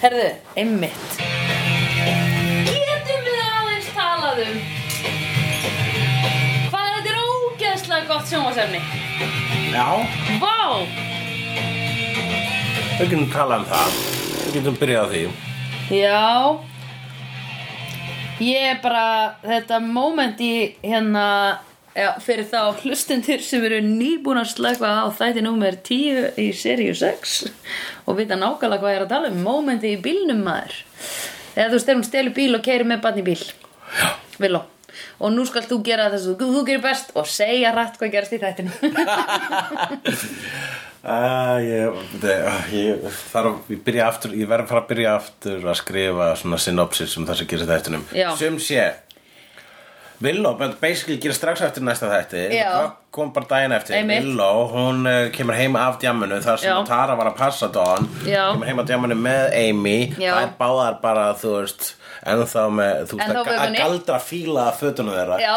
Herðu, einmitt Getum við aðeins talað um Hvað þetta er ógeðslega gott sjónvarsefni Já, Vá, við getum talað um það Við getum byrjað á því Já Ég er bara þetta moment í hérna já, fyrir þá hlustendur sem eru nýbúin að slökva á þætti númer 10 í seríu 6 og vita nákvæmlega hvað ég er að tala um momenti í bílnum maður eða þú veist þegar hún stelur bíl og keirir með barn í bíl Já Villó Og nú skalt þú gera þess að þú, þú gerir best og segja rætt hvað gerast í þættinu Uh, ég, ég, ah, ég þarf ég byrja aftur, ég verð að fara að byrja aftur að skrifa svona synopsis um það sem gerist þættunum Já. sem sé Villó, menn basically gerir strax eftir næsta þætti Já. Það kom bara daginn eftir Einmitt. Villó, hún uh, kemur heim af djamminu þar sem Já. Tara var að passa Don Já. kemur heim af djamminu með Amy Já. það er báðar bara, þú veist ennþá með, þú veist, Ennþá að, að vökunni. galdra fíla að fötunum þeirra Já,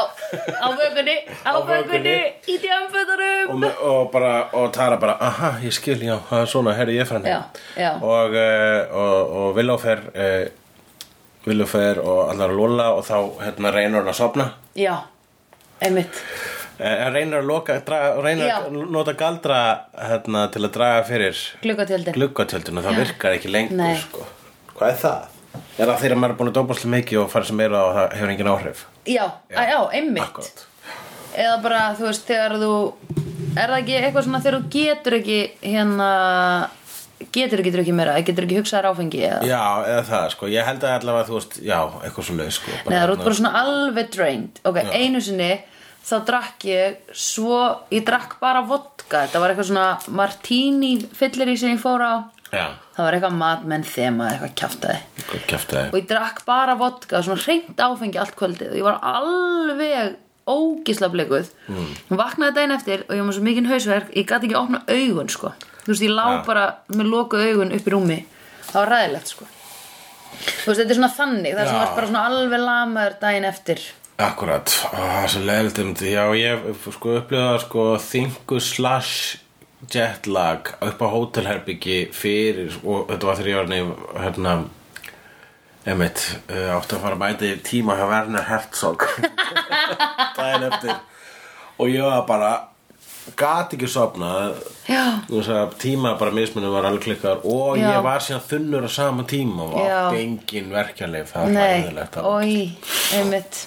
á vökunni, á Á vökunni, vökunni. í djámföðurum og, me- og bara, og Tara bara aha, ég skil, já, það er svona, herri ég er frændi Já, já. og, uh, og, og Villó fer uh, Villó fer og allar að lóla og þá hérna reynur hann að sopna Já, einmitt uh, reynur að loka, draga, reynur Já. að nota galdra hérna til að draga fyrir Gluggatjöldin gluggatjöldinu, það virkar ekki lengur Nei. sko. hvað er það? er það þegar maður er búin að dópa slu mikið og fara sem meira og það hefur engin áhrif Já, já, já einmitt Akkurat. Eða bara, þú veist, þegar þú Er það ekki eitthvað svona þegar þú getur ekki hérna Getur ekki drukkið meira, getur ekki hugsað þér áfengi eða já, eða það, sko, ég held að allavega þú veist, já, eitthvað svo leið sko, Nei, það er út hérna- bara svona alveg drained Ok, einu sinni þá drakk ég svo, ég drakk bara vodka Þetta var eitthvað svona martini fyllir í sem ég fór á já, Það var eitthvað matmenn þema, eitthvað kjaftaði hvað kjæfti og ég drakk bara vodka svona hreint áfengi allt kvöldið og ég var alveg ógisla bleikuð mm. vaknaði daginn eftir og ég var með svo mikinn hausverk ég gæti ekki að opna augun sko þú veist ég lá bara með lokuð augun upp í rúmi það var ræðilegt sko þú veist þetta er svona þannig það er Já. svona, bara svona alveg lamaður daginn eftir Akkurat, Ó, það er svo leiðilegt um því Já, ég sko upplifði það sko þingu slash jetlag upp á hótelherbyggi fyrir og þetta var þegar ég var nefn hérna emitt, uh, átti að fara að mæta í tíma hjá Werner Herzog daginn eftir og ég var bara gat ekki sofnað Já. Þú veist að tíma bara mismunum var alveg klikkar og Já. ég var síðan þunnur á sama tíma og Já. átti engin verkjalið það var nei, hæðilegt oi, einmitt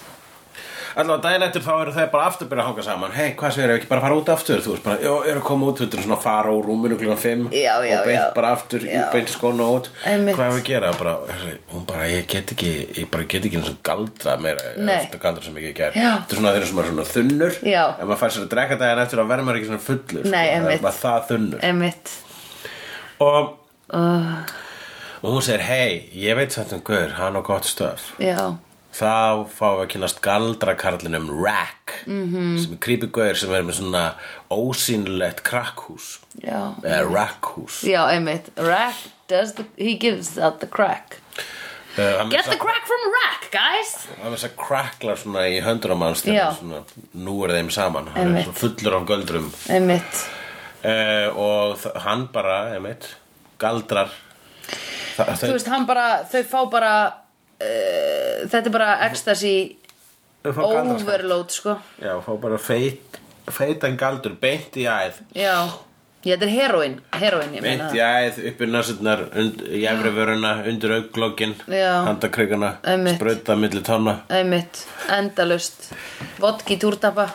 Allá, daginn eftir þá eru þeir bara aftur byrja að hanga saman Hei, hvað segir, ekki bara að fara út aftur? Þú veist bara, já, eru að koma út, þetta er svona að fara úr rúminu klukkan 5 Já, já, Og beint já. bara aftur, Já. beint í skóna út Einmitt. Hvað er að gera? Bara, herri, hún bara, ég get ekki, ég bara get ekki eins og galdra meira eða Nei. Þetta galdra sem ekki ég ger Já. Þetta er svona þeir eru svona, svona þunnur Já. Ef maður fær sér að drekka daginn eftir þá verður maður ekki svona fullur Nei, sko. Það einmitt. er bara það þunnur einmitt Og, og hún segir, hei, ég veit samt um hver, hann og gott stöð já, þá fáum við að kynast galdrakarlinum Rack Mhm. -hmm. sem er creepy-gauður sem er með svona ósýnilegt krakkhús já, eða rackhús já, einmitt rack does the, he gives out the crack yeah. get the crack from rack, guys Það með þess að kraklar svona í höndur á manns Já. þegar svona, nú er þeim saman hann er Einmitt. svona fullur af göldrum einmitt uh, og þ- hann bara, einmitt, galdrar Þa, þau, þú veist, hann bara, þau fá bara uh, þetta er bara ecstasy þau fá galdraskap. overload, sko Já, fá bara feit, feitan galdur beint í æð já, já þetta er heroin heroin, ég meina Beint í æð, upp í narsutnar, í efri vöruna, undir auglokkin, Já. handakrygana, Einmitt. sprauta milli tanna. einmitt, endalust vodki túrtapa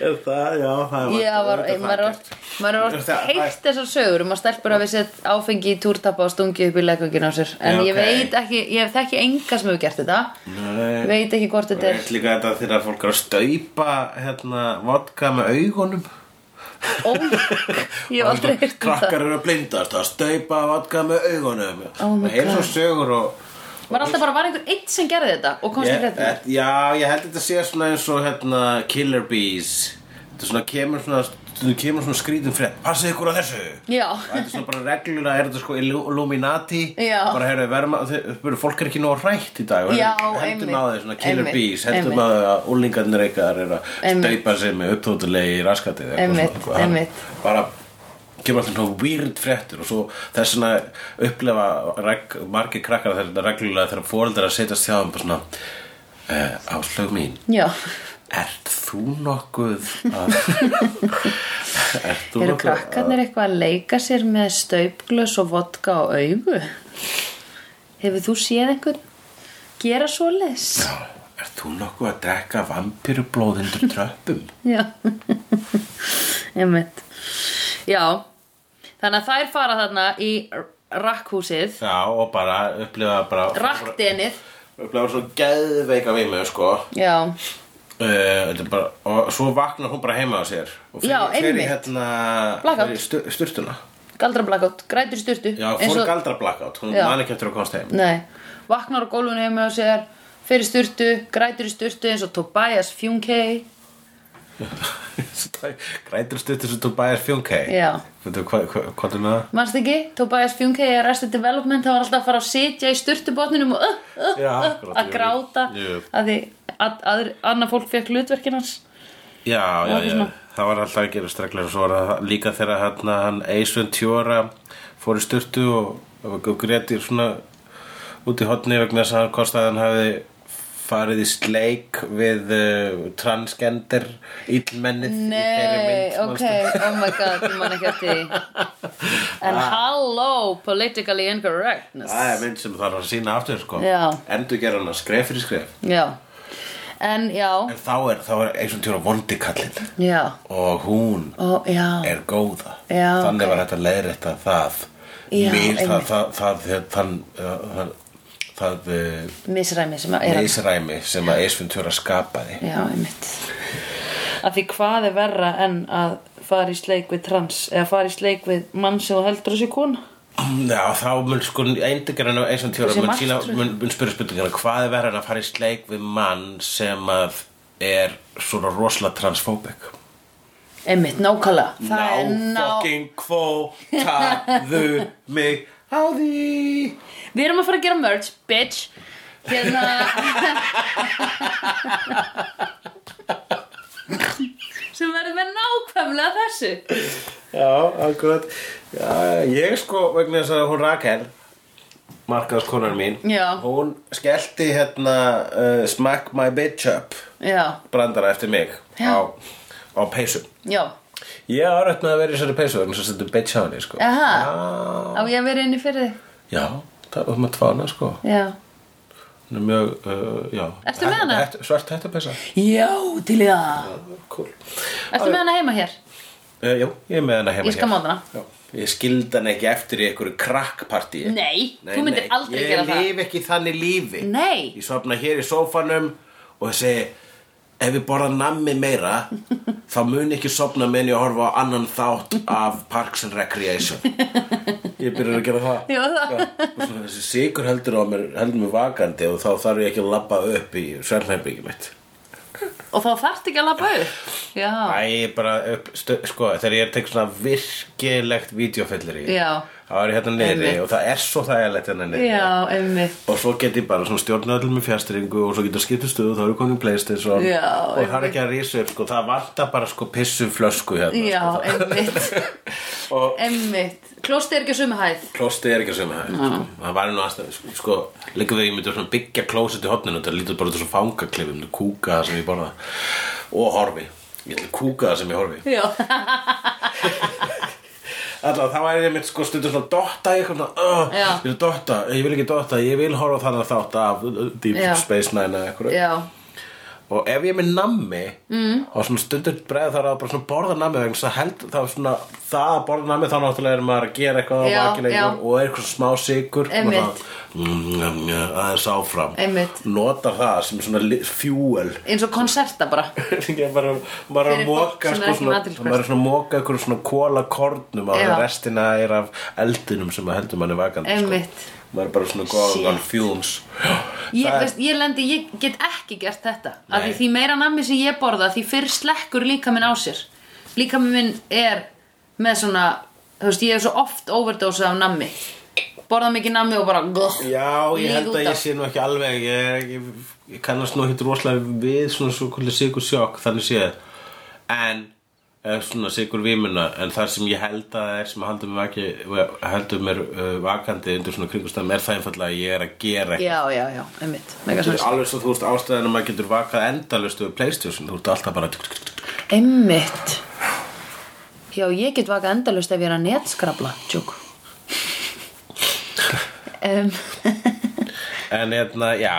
Það, já, það já, var, ég, maður er oft maður er oft Það- heilt þessar sögur um að stelpur hafi sett áfengi í túrtapa og stungið upp í leggöngin á sér en Já, ég ok. veit ekki, ég þekki enga sem hefur gert þetta Nei. veit ekki hvort þetta er Veit líka þetta þegar fólk er að staupa hérna, vodka með augunum ó, ég hef aldrei heyrt um það Krakkar eru að blindast að staupa vodka með augunum Oh my Það er svo God. sögur og var alltaf bara, var einhver einn sem gerði þetta og komst ég, ekki þetta eh, Já, ég held þetta sé svona eins og hérna, Killer Bees Þetta svona kemur svona, stundum kemur svona skrítum frétt Passið ykkur á þessu Já. Og Þetta er svona bara reglulega, er þetta sko Illu- Illuminati Já. Bara heyrðu, verma, þeir, spyrir, fólk er ekki nóg hrætt í dag Já, Hendum einmitt. á þeir svona Killer Einmitt, Bees Hendum á einmitt. þeir að úlingarnir eitthvað er að Einmitt. staupa sig með upptótulegi í raskatið eitthvað Einmitt, svona, eitthvað. einmitt. Bara kemur alltaf svona weird fréttur og svo þess vegna upplefa reg, margir krakkar þetta reglulega þegar fóreldrar að setjast hjá þeim bara svona uh, áslög mín Já, Ert þú nokkuð að Ert þú eru nokkuð krakkarnir eitthvað að leika sér með staupglös og vodka og augu? Hefur þú séð einhvern gera svoleiðis? Já, Ert þú nokkuð að drekka vampirublóð undir tröppum? Já, einmitt. Já, þannig að þær fara þarna í rakkhúsið, Já, og bara upplifa bara rakkdenið. Upplifa svo geðveika vimu, sko Já, Uh, bara, og svo vaknar hún bara heima á sér og fer, Já, í- fer í einmitt. hérna Blackout. fer í stu, sturtuna galdra blackout, grætur í styrtu. já, fór og... galdra blackout, hún Já. man ekki eftir að komast heim Nei, vaknar á gólfinu heima á sér, fer í styrtu, grætur í styrtu eins og Tobias Fjunkei. grætur stuttur sem þú bæðir fjónkei Já. veitum hvað hva, hva, er með það? Manst ekki? Tobias Fjunkei er Arrested Development, hann var alltaf að fara að sitja í styrtubotninum og uh, uh, Já, uh, akkurat, að jú, gráta jú. að því að, að, annað fólk fekk hlutverkin hans. já, já, eitthvað já, svona. það var alltaf að gera streglar og svo var það líka þegar hérna, hann Eisvön Tjóra fór í sturtu og, og grétir svona út í hotni vegna þess að hann kostaði að hann hafi farið í sleik við uh, transgender illmennið í þeirri Nei, mynd, ok, manstu? Ah. oh my god, ég man ekki eftir því En hello, politically incorrectness Það er mynd sem þarf að sína aftur sko Já. Endur gera hana skref fyrir skref Já, en já, En þá er, þá er eins og tjóra vondi kallinn já, Og hún ó, já, er góða Já, ok. Þannig var þetta leiðrétta það Já, Mér, það, einmitt. það, það, það, það, það, það eh, misræmi sem að er að Leysræmi sem að Eisfinn Tjóra skapaði Já, einmitt Af því hvað er verra en að fara í sleik við trans eða fara í sleik við mann sem þú heldur þessi kona Já, þá mun sko eindegarinn og Eisfinn Tjóra Þessi mun, sína, martröð. mun, mun spyrja spurningana Hvað er verið að fara í sleik við mann sem að er svona rosalega transfóbik Einmitt, nákvæmlega Það er Ná fucking kvótaðu mig á því Við erum að fara að gera merch, bitch Hérna sem verður með nákvæmlega þessu Já, akkurat Já, ég sko vegna þess að hún Rakel markaðskonar mín Já. hún skellti hérna uh, Smack my bitch up Já, brandara eftir mig Já. á, á peysu já, Ég á rétt með að vera í þessari peysu vegna þess að þetta bitch á henni sko Aha. Já, á ég að vera inni fyrir þig já það var maður tvána sko Já, Hún er mjög, uh, já Ertu með hana? Hett- Svart hættu peysa já til í það Cool Ertu með hana heima hér? Uh, já, ég er með hana heima Ég skal hér. máta hana. Já. Ég skildi hana ekki eftir í einhverju krakkpartíi Nei, þú myndir aldrei ég gera það. Ég lif ekki þannig lífi Nei. Ég sofna hér í sófanum og segi Ef við borða nammi meira þá mun ekki sofna menn ég að horfa á annan þátt af Parks and Recreation Ég byrjar að gera það Já, það. Og svona þessi sigur heldur á mér heldur mér vakandi og þá þarf ég ekki að labba upp í svernherbyggjum mitt Og þá þarftu ekki að labba upp Já, Æ, ég bara, upp, stu, sko, þegar ég tek svona virkilegt vídeofillir í Já. þá er ég hérna niðri Einmitt. og það er svo þægilegt hérna niðri já, einmitt og svo get ég bara svona stjórna öllum með fjastringu og svo getur skiptu stöðu og þá eru komin playstation Já, og það er ekki að rísa upp, sko, það vantar bara sko pissu flösku hérna Já, sko, það- einmitt, og einmitt Klósti er ekki á sumu hæð klósti er ekki sem það er, sko. það var nú aðstæði sko, sko líka þegar ég myndi svona byggja klósit í hotninu það lítur bara út þessu fangaklif, ég myndi kúka það sem ég borða og horfi ég ætla að kúka það sem ég horfi Já, Alltaf, þá er ég mitt sko stundum svona dotta ég eitthvað svona, uh, Já. ég vil dotta, ég vil ekki dotta, ég vil horfa á þannig að þátt af uh, Deep Já. Space Nine eða eitthvað. já, Og ef ég er með nammi, mm. og svona stundum bregð þar að bara svona borða nammi vegna þess að held, þá svona, það að borða nammi þá náttúrulega er maður að gera eitthvað Já, og vakið já. eitthvað og er eitthvað smá sigur og Einmitt. það, mm, mm, mm, aðeins áfram. Einmitt. Notar það sem svona li- fuel eins og konserta bara Ég er bara, bara að Fyrir fólk móka sem er sko, ekki svona, með athyglisbrest. maður er svona að móka ykkur svona kólakornum að Já. restina er af eldinum sem að heldur manni vakandi Einmitt. sko. maður er bara svona góð Shit. on fumes Ég, Það er- veist, ég, lendi, ég get ekki gert þetta af því Nei. því meira nammi sem ég borða því fyrr slekkur líka minn á sér líka minn er með svona þú veist ég hef svo oft overdósa af nammi borða mikið nammi og bara glögg, Já, ég líð held út að ég af. sé nú ekki alveg ég, er ekki, ég kannast nú ekki rosalega við svona svo kvöldi sigur sjokk þannig séð en eða svona sigur vímuna en þar sem ég held að það er sem heldur mér, vaki, heldur mér uh, vakandi undir svona kringustæðum er það einfallega að ég er að gera eitthvað. Já, já, já, einmitt, mega Þetta er sens alveg svo þú veist ástæðan að maður getur vakað endalust við Playstation, þú ert alltaf bara Einmitt Já, ég get vakað endalust ef ég er að netskrabla Tjúk um, en hérna, já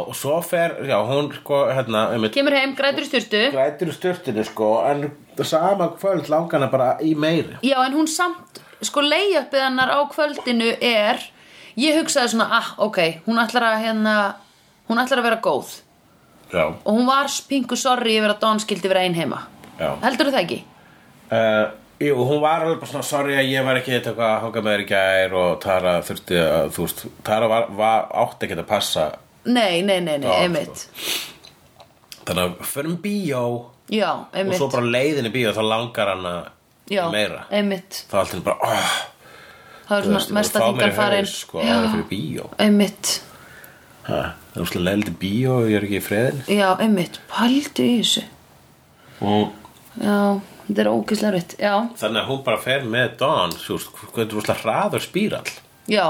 og svo fer, já hún sko hérna, einmitt Kemur heim, grætur í styrtu grætur í störtinu sko en sama kvöld langana bara í meiri Já, en hún samt, sko leiðjöppið hennar á kvöldinu er Ég hugsaði svona, ah, ok, hún ætlar að hérna Hún ætlar að vera góð já, Og hún var pingu sorry yfir að Don skildi vera ein heima já Heldur það ekki? uh, jú, hún var alveg bara svona sorry að ég var ekki þetta hvað að hanga með þér í gær og Tara þurfti að, þú veist Tara var, var átti ekki að passa Nei, nei, nei, nei, Já, sko. einmitt þannig að förum í bíó Já, og einmitt svo bara leiðin í bíó þá langar hann að Já, meira einmitt þá allt er bara oh, Það er svona mesta þingar farin sko, það er fyrir bíó Einmitt, ha, það er svona leiðin í bíó og ég er ekki í freðin já, einmitt Paldu í þessu og Já, þetta er ógeðslega rétt Já, þannig að hún bara fer með Dawn þú veist, hvað er þetta hraður spírall já,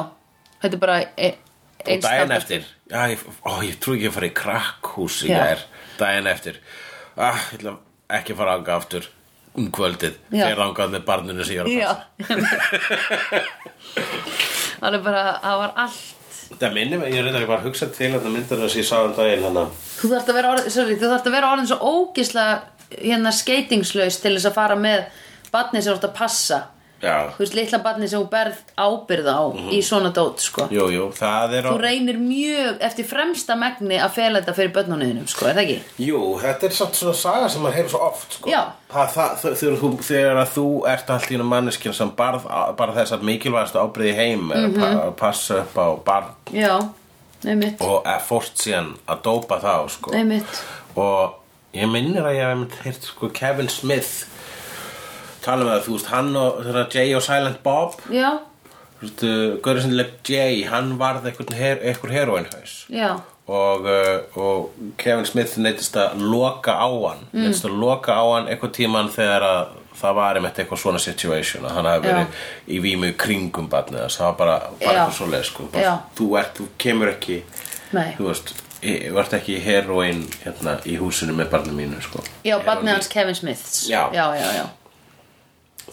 þetta er bara e og einstakt. daginn eftir já, ég, ó, ég trú ekki að fara í krakkhús í Já. gær daginn eftir ah, ég ætla ekki að fara ánga aftur um kvöldið Já. fyrir ángað með barninu sem ég var Já að Það er bara, það var allt passa það minnir mig, ég reyndar ég var að hugsa til að það myndir þess að ég sá um daginn hana Þú þarft að vera orðin, sorry, þú þarft að vera orðin svo ógeðslega hérna skeitingslaus til þess að fara með barnið sem þú ert að passa já, Þú veist, litla barnið sem þú berð ábyrð á í svona dót, sko jú, jú, það er á... Þú reynir mjög eftir fremsta megni að fela þetta fyrir börnunniðinum, sko, er það ekki? jú, þetta er samt svona saga sem maður hefur svo oft sko. Já. það, það, þ- þegar, þú, þegar að þú ert allt í einu manneskinn sem barð, bara þess að mikilvægast ábyrði heim er Mhm. að pa- að passa upp á barn Já, einmitt, og að fórst síðan að dópa þá sko. einmitt og ég minnir að ég hef heirt sko Kevin Smith tala um það, þú veist, hann og þeirra Jay og Silent Bob Já, þú veist, Gaurið sem leik Jay, hann varð eitthvað, her, eitthvað heroinhaus já, og, uh, og Kevin Smith neittist að loka á hann mm. neittist að loka á hann eitthvað tíman þegar að það var einmitt eitthvað svona situation að hann hafi verið í vímu kringum barnið þess, það var bara, bara Já. eitthvað svoleið sko, bara, Já. þú, ert, þú kemur ekki nei þú veist, ég vart ekki heroin hérna í húsinu með barnum mínu sko. Já, barnið hans Kevin Smiths Já. já, já, já.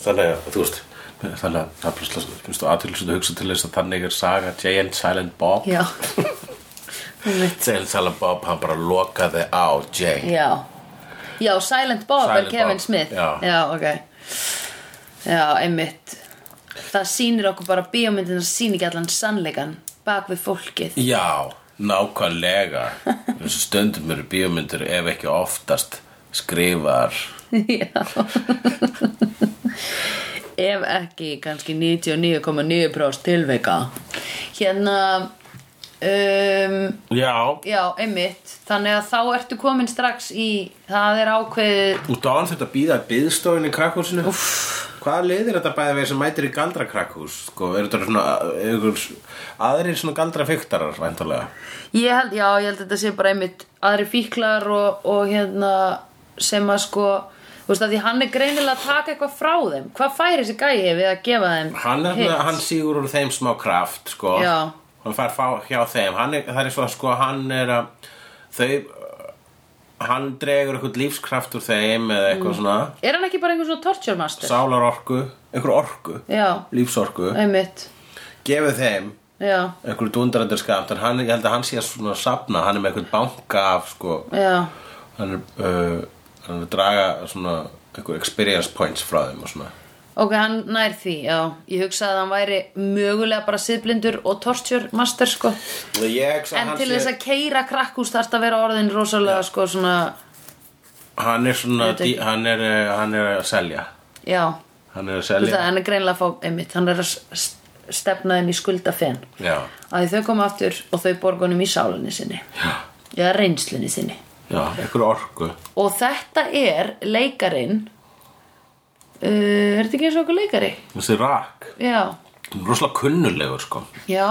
þannig að, þú veist þannig að það plusslega, finnst þú aðtölu að hugsa til þess að þannig er saga Jay and Silent Bob Já. Einmitt. Jay and Silent Bob, hann bara lokaði á Jay já Já, Silent Bob Silent er Kevin Bob, Smith já. ok Já, einmitt Það sýnir okkur bara bíómyndin að sýnir ekki allan sannleikan bak við fólkið já, nákvæmlega þessu stundum eru bíómyndir ef ekki oftast skrifar Já Ef ekki, kannski 99,9% tilveika Hérna um, já, Já, einmitt Þannig að þá ertu komin strax í Það er ákveðið út á hann þetta býða byðstofin í krakkúsinu hvaða liðir þetta bæði við sem mætir í galdra krakkús sko, eru þetta svona einhver, aðrir svona galdra fyktarar væntalega Ég held, já, ég held að þetta sé bara einmitt aðri fíklar og, og hérna sem að sko þú veist að því hann er greinilega að taka eitthvað frá þeim hvað fær þessi gæi við að gefa þeim hann, er, hitt? hann sígur úr þeim smá kraft sko. Já. hann fær fá hjá þeim hann er, það er svo að sko, hann er að þau hann dregur eitthvað lífskraft úr þeim eða Mm. eitthvað svona er hann ekki bara einhver svona torture master? sálarorku, eitthvað orku já, lífsorku, einmitt gefið þeim já, einhver dundrandur skamt en hann, ég held að hann sé að svona safna hann er með eitthvað banka af sko, já, hann er, uh, hann er að draga svona einhver experience points frá þeim og svona ok, hann nær því já, ég hugsaði að hann væri mögulega bara siðblindur og torture master sko og ég hugsa að en hann til sé- þess að keira krakkús þarf að vera orðin rosalega sko svona, hann er svona Ég veit dí, ekki. hann, er, eh, hann er að selja já hann er Þú að veist selja að hann er greinilega að fá einmitt, hann er að s- stefna þeim í skuldafen já, að þau koma aftur og þau borga honum í sálinni sinni Já. eða reynslunni sinni já, einhver orku og þetta er leikarinn uh, er þetta ekki eins og okkur leikari? þessi rak, Já, Hann er rosalega kunnulegur sko já,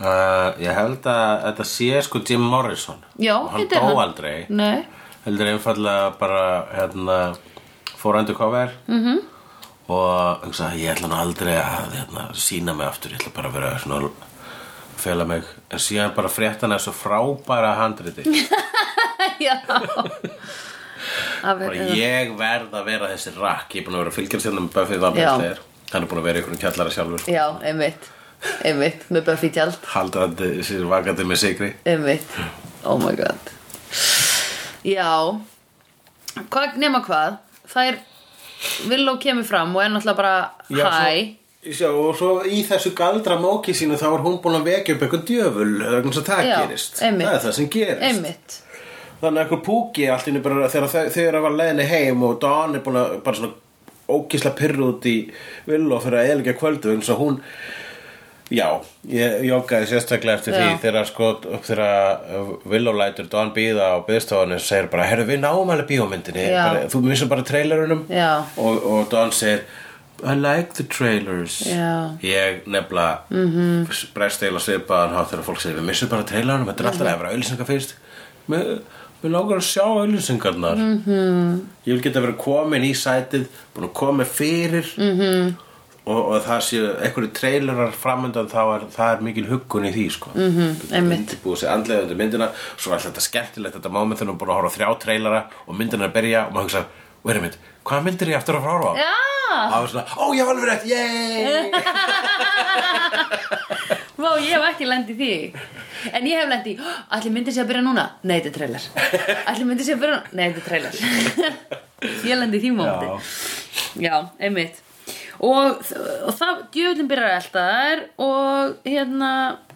uh, ég held að þetta sé sko Jim Morrison já og hann þetta er dó aldrei Nei, heldur einfallega bara hérna, fór fór undercover -hmm. Mhm. og hugsaði ég ætla nú aldrei að hérna, sína mig aftur ég ætla bara að vera svona fela mig en síðan bara fréttan er svo frábæra handriti Já Af- bara ég verð að vera þessi rakk ég er búin að vera að fylgjast hérna með Buffy það Já. bæst hann er búin að vera í einhverjum kjallara sjálfur sko. Já, einmitt Einmitt, með Buffy tjald haldandi sér vakandi með sigri Einmitt, oh my god Já Hvað nema hvað Það er Villó kemur fram og er náttúrulega Já, bara Hæ svo, já, og svo í þessu galdra móki sínu þá er hún búin að vekja upp eitthvað djöful vegna þess að það Já, gerist einmitt. það er það sem gerist Einmitt þannig að einhver púki allt inni bara þegar þau- þau eru að vera leiðinni heim og Dawn er búin að bara svona ókísla pyrru út í Villó fyrir að eðlika kvöldu eins og hún já, ég joggaði sérstaklega eftir því Já. þegar sko upp þegar Villó lætur Dawn býða á byðstofunni og segir bara, herru við náum alveg bíómyndinni Já. bara, þú missum bara trailerunum Já. og, og Dawn segir I like the trailers Já. Mhm. ég nefnilega mm -hmm. brest eiginlega svipaðan hátt þegar fólk segir við missum bara trailerunum, þetta er Mhm. alltaf að vera auðlýsingar fyrst mér mér langar að sjá auðlýsingarnar mm Mhm. -hmm. ég vil geta verið komin í sætið búin að koma fyrir mm -hmm. Mhm. og, og það séu einhverju trailerar framöndan þá er, það er mikil huggun í því sko. mm Mhm. -hmm. einmitt. búið sér andlega undir myndina svo er þetta skemmtilegt þetta moment þegar hún er búin að horfa á þrjá trailara og myndina er að byrja og maður hugsa, verið mynd, hvaða myndir ég aftur að fara að horfa á? Já, Það var svona, ó ég var alveg rétt, yey vá, ég hef ekki lent í því En ég hef lent í Allir myndir sér að byrja núna? Nei, þetta er trailer Allir myndir sér að byrja núna? Nei, þetta er trailer Ég lendi í því móti Já, einmitt Og, og það, djöfullin byrjar að elta þær Og hérna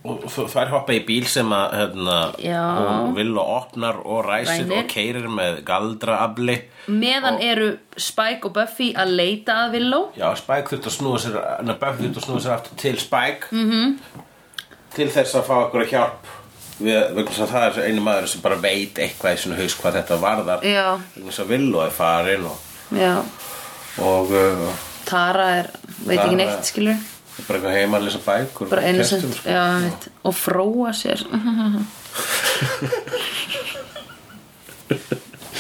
Og þ- þær hoppa í bíl sem að hérna, Já. hún vil og opnar og ræsir Rænir. og keirir með galdraafli Meðan eru Spike og Buffy að leita að Villó Já, Spike þurft að snúa sér Nei, Buffy þurft að snúa sér aftur til Spike mm Mhm. -hmm. Til þess að fá okkur að hjálp Við, vegna þess að það er svo einu maður sem bara veit eitthvað í svona haus hvað þetta varðar Já. vegna þess að Villó er farin og, Já og uh, Tara er, veit Tara- ekki neitt, skilur bara eitthvað heima að lesa bækur og Bara einu sem, kertum, sko. já, einmitt Og fróa sér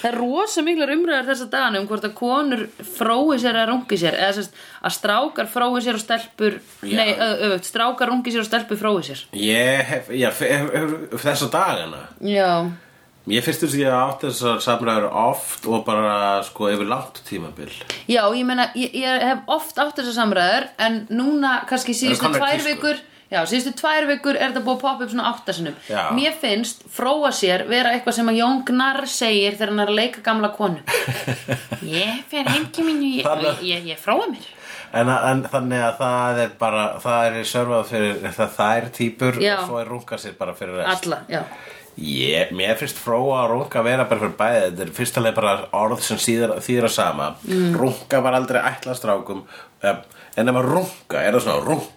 Það er rosa miklar umræður þessa dagana um hvort að konur frói sér að rungi sér eða sérst að strákar frói sér og stelpur Já. nei, öfugt, strákar rungi sér og stelpur frói sér Ég hef, já, hef, hef, hef, þessa dagana Já, Mér finnst þess að ég átt þessar samræður oft og bara sko yfir langt tímabil já, ég meina, ég, ég hef oft átt þessar samræður en núna kannski síðustu komnar í tvær tísku. vikur Já, síðustu tvær vikur er þetta búið að poppa upp svona áttasinnum Já. Mér finnst fróa sér vera eitthvað sem að Jón Gnarr segir þegar hann er að leika gamla konu Ég fer heimki mínu, ég, Þarna- ég, ég, ég fróa mér en, en þannig að það er bara það er sörfað fyrir það, það er típur Já. og svo er runga sér bara fyrir rest Alla, já ég, Mér finnst fróa að runga vera bara fyrir bæði þetta er fyrst alveg bara orð sem síðar, þýra sama mm. Runga var aldrei ætla strákum um, en ef að runga, er það svona rung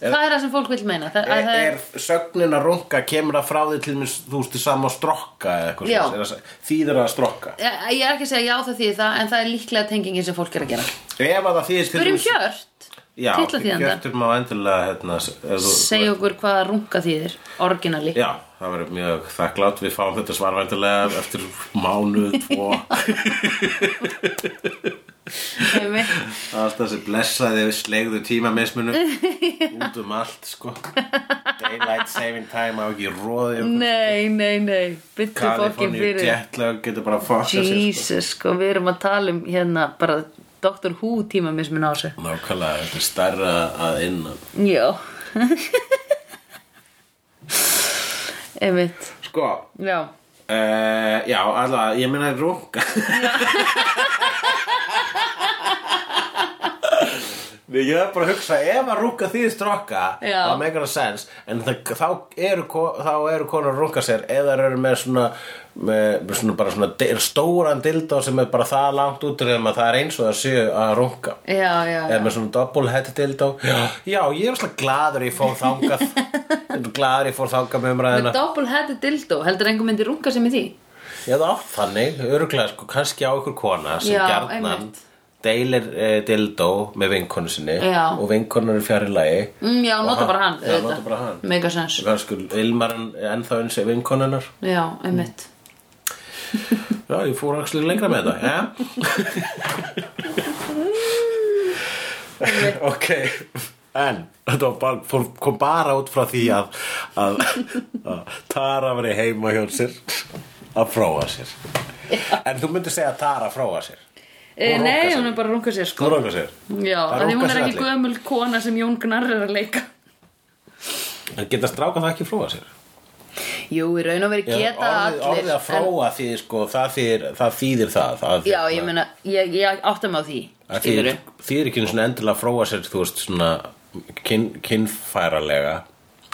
er, Það er það sem fólk vil meina það, að er, það er sögnin að runga kemur það frá því til mér þú veist saman að strokka eða eitthvað Já. svoleiðis? Er það- þýðir að strokka Ég ég er ekki að segja já það því það en það er líklega tengingin sem fólk er að gera Ef að það þýðir til Börjum dæmis- hjört Já, Titla þýðandan Hjörtur má endilega hérna, s- ef þú- Segja okkur hvað runga þýðir Orginali Já, það verður mjög þakklátt Við fáum þetta svar væntanlega eftir mánuð, tvo Allt þessi blessaði við slegðu tímamismunum Út um allt, sko Daylight saving time á ekki róði Nei, nei, nei Byttu fólkin Kaliforníu fyrir jetlag getur bara að fokka sér sko. Jesus, sko, við erum að tala um hérna bara Dr. Who tíma mismun á þessu Nákvæmlega, þetta er stærra að innan Já Einmitt, Sko, já Uh, já, allavega, ég meina runga Við ég er bara að hugsa ef að runga þýðist strokka Já. það megar að sens en það, þá, eru, ko- þá eru konar að runga sér eða þær eru með svona með, með svona bara svona di- stóran dildó sem er bara það langt út um að það er eins og það séu að runga Já, já, eða já með svona double head dildó já, já, ég er svona gladur ég fór þangað gladur ég fór þangað með umræðina Með doppelhættu dildó, heldur einhver myndi runga sem í því? Já það átt þannig, öruglega sko, kannski á ykkur kona sem Já, gjarnan einmitt. deilir e, dildó með vinkonu sinni Já. og vinkonur er fjari lagi sko, Mm, já, Og nota hann- bara hann, já, nota bara hann. Megasens kannski ilmarinn ennþá eins og vinkonunar Já, einmitt já, ég fór axlir lengra með þetta ja? ok en þetta var bara, fór, kom bara út frá því að, að, að Tara var heima hjá sér að fróa sér en þú myndir segja að Tara fróa sér Eh, Hún Nei, rokkar hún er bara að runga sér sko hún róka sér Já, Það af því hún runkar er sér ekki allir. gömul kona sem Jón Gnar er að leika en geta stráka það ekki fróa sér Jú, í raun og veri Já, geta orðið, allir orðið að fróa en... því sko, það, þýðir, það þýðir það, það Já, ég meina, ég, ég átta mig á því Það Skilur þýðir, þýðir ekki einu svona endilega að fróa sér þú veist svona kyn, kynfæralega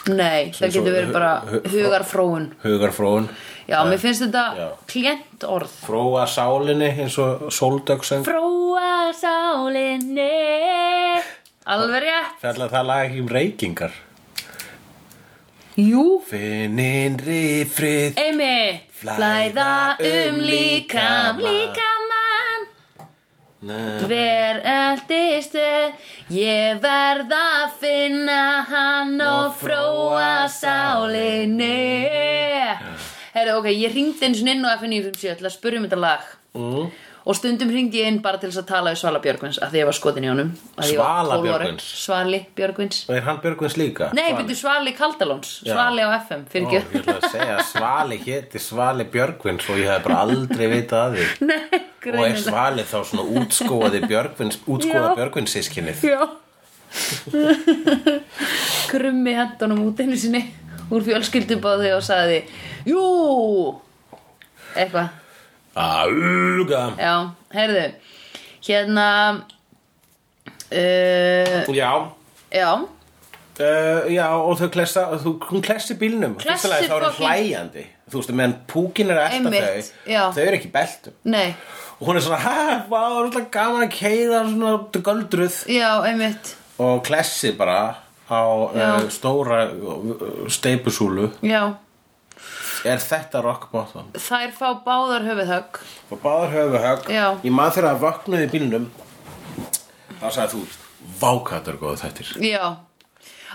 Nei, það Sem getur svo- verið bara hu- hu- hugarfróun hugarfróun Já, mér finnst Já. þetta klient orð fróa sálinni eins og sóldökseng Fróa sálinni Alveg rétt Fjallar það lag ekki um reykingar Jú, Finnin rifrið Emi Flæða um líkam Líkamann Nei. Hver eldist er Ég verð að finna hann Og fróa sálinni Herru, ok, ég ringdi eins og inn á FNU57 til að spurja um þetta lag Mm. Og stundum hringdi ég inn bara til þess að tala við Svala Björgvins að því ég var skotin í honum af því ég var 12 Svala ára. Björgvins? Svali Björgvins Og er hann Björgvins líka? Nei, byrju Svali Kaldalóns Já. Svali á FM, fyrir Ó, ekki ég ætla að segja að Svali héti Svali Björgvins og ég hef bara aldrei vitað að því Nei, Og er greinilega Svali þá svona útskóði Björgvins, útskóða Já. Björgvins sískinnið Já Krummi hendunum út einu sinni úr fjölskyldubáði og sagði Jú Eitthvað Alga Já, heyrðu Hérna uh, Já, Já Uh, já, og þau klessa, þú, hún klessi bílnum Klessir Fyrsta lagi, Þá er hún fucking- hlæjandi Þú veist, meðan púkin er eftir Einmitt, þau já. Þau eru ekki í beltum Nei, Og hún er svona, hæ, vá, það er alltaf gaman að keiða Svona göldruð já, einmitt Og klessi bara á uh, Já. stóra uh, steipusúlu Já, Er þetta rock bottom? þær fá báðar höfuðhögg Og báður höfu högg Já. Ég maður þegar að vaknaði í bílnum Þá sagði þú, vákatar góð þettir Já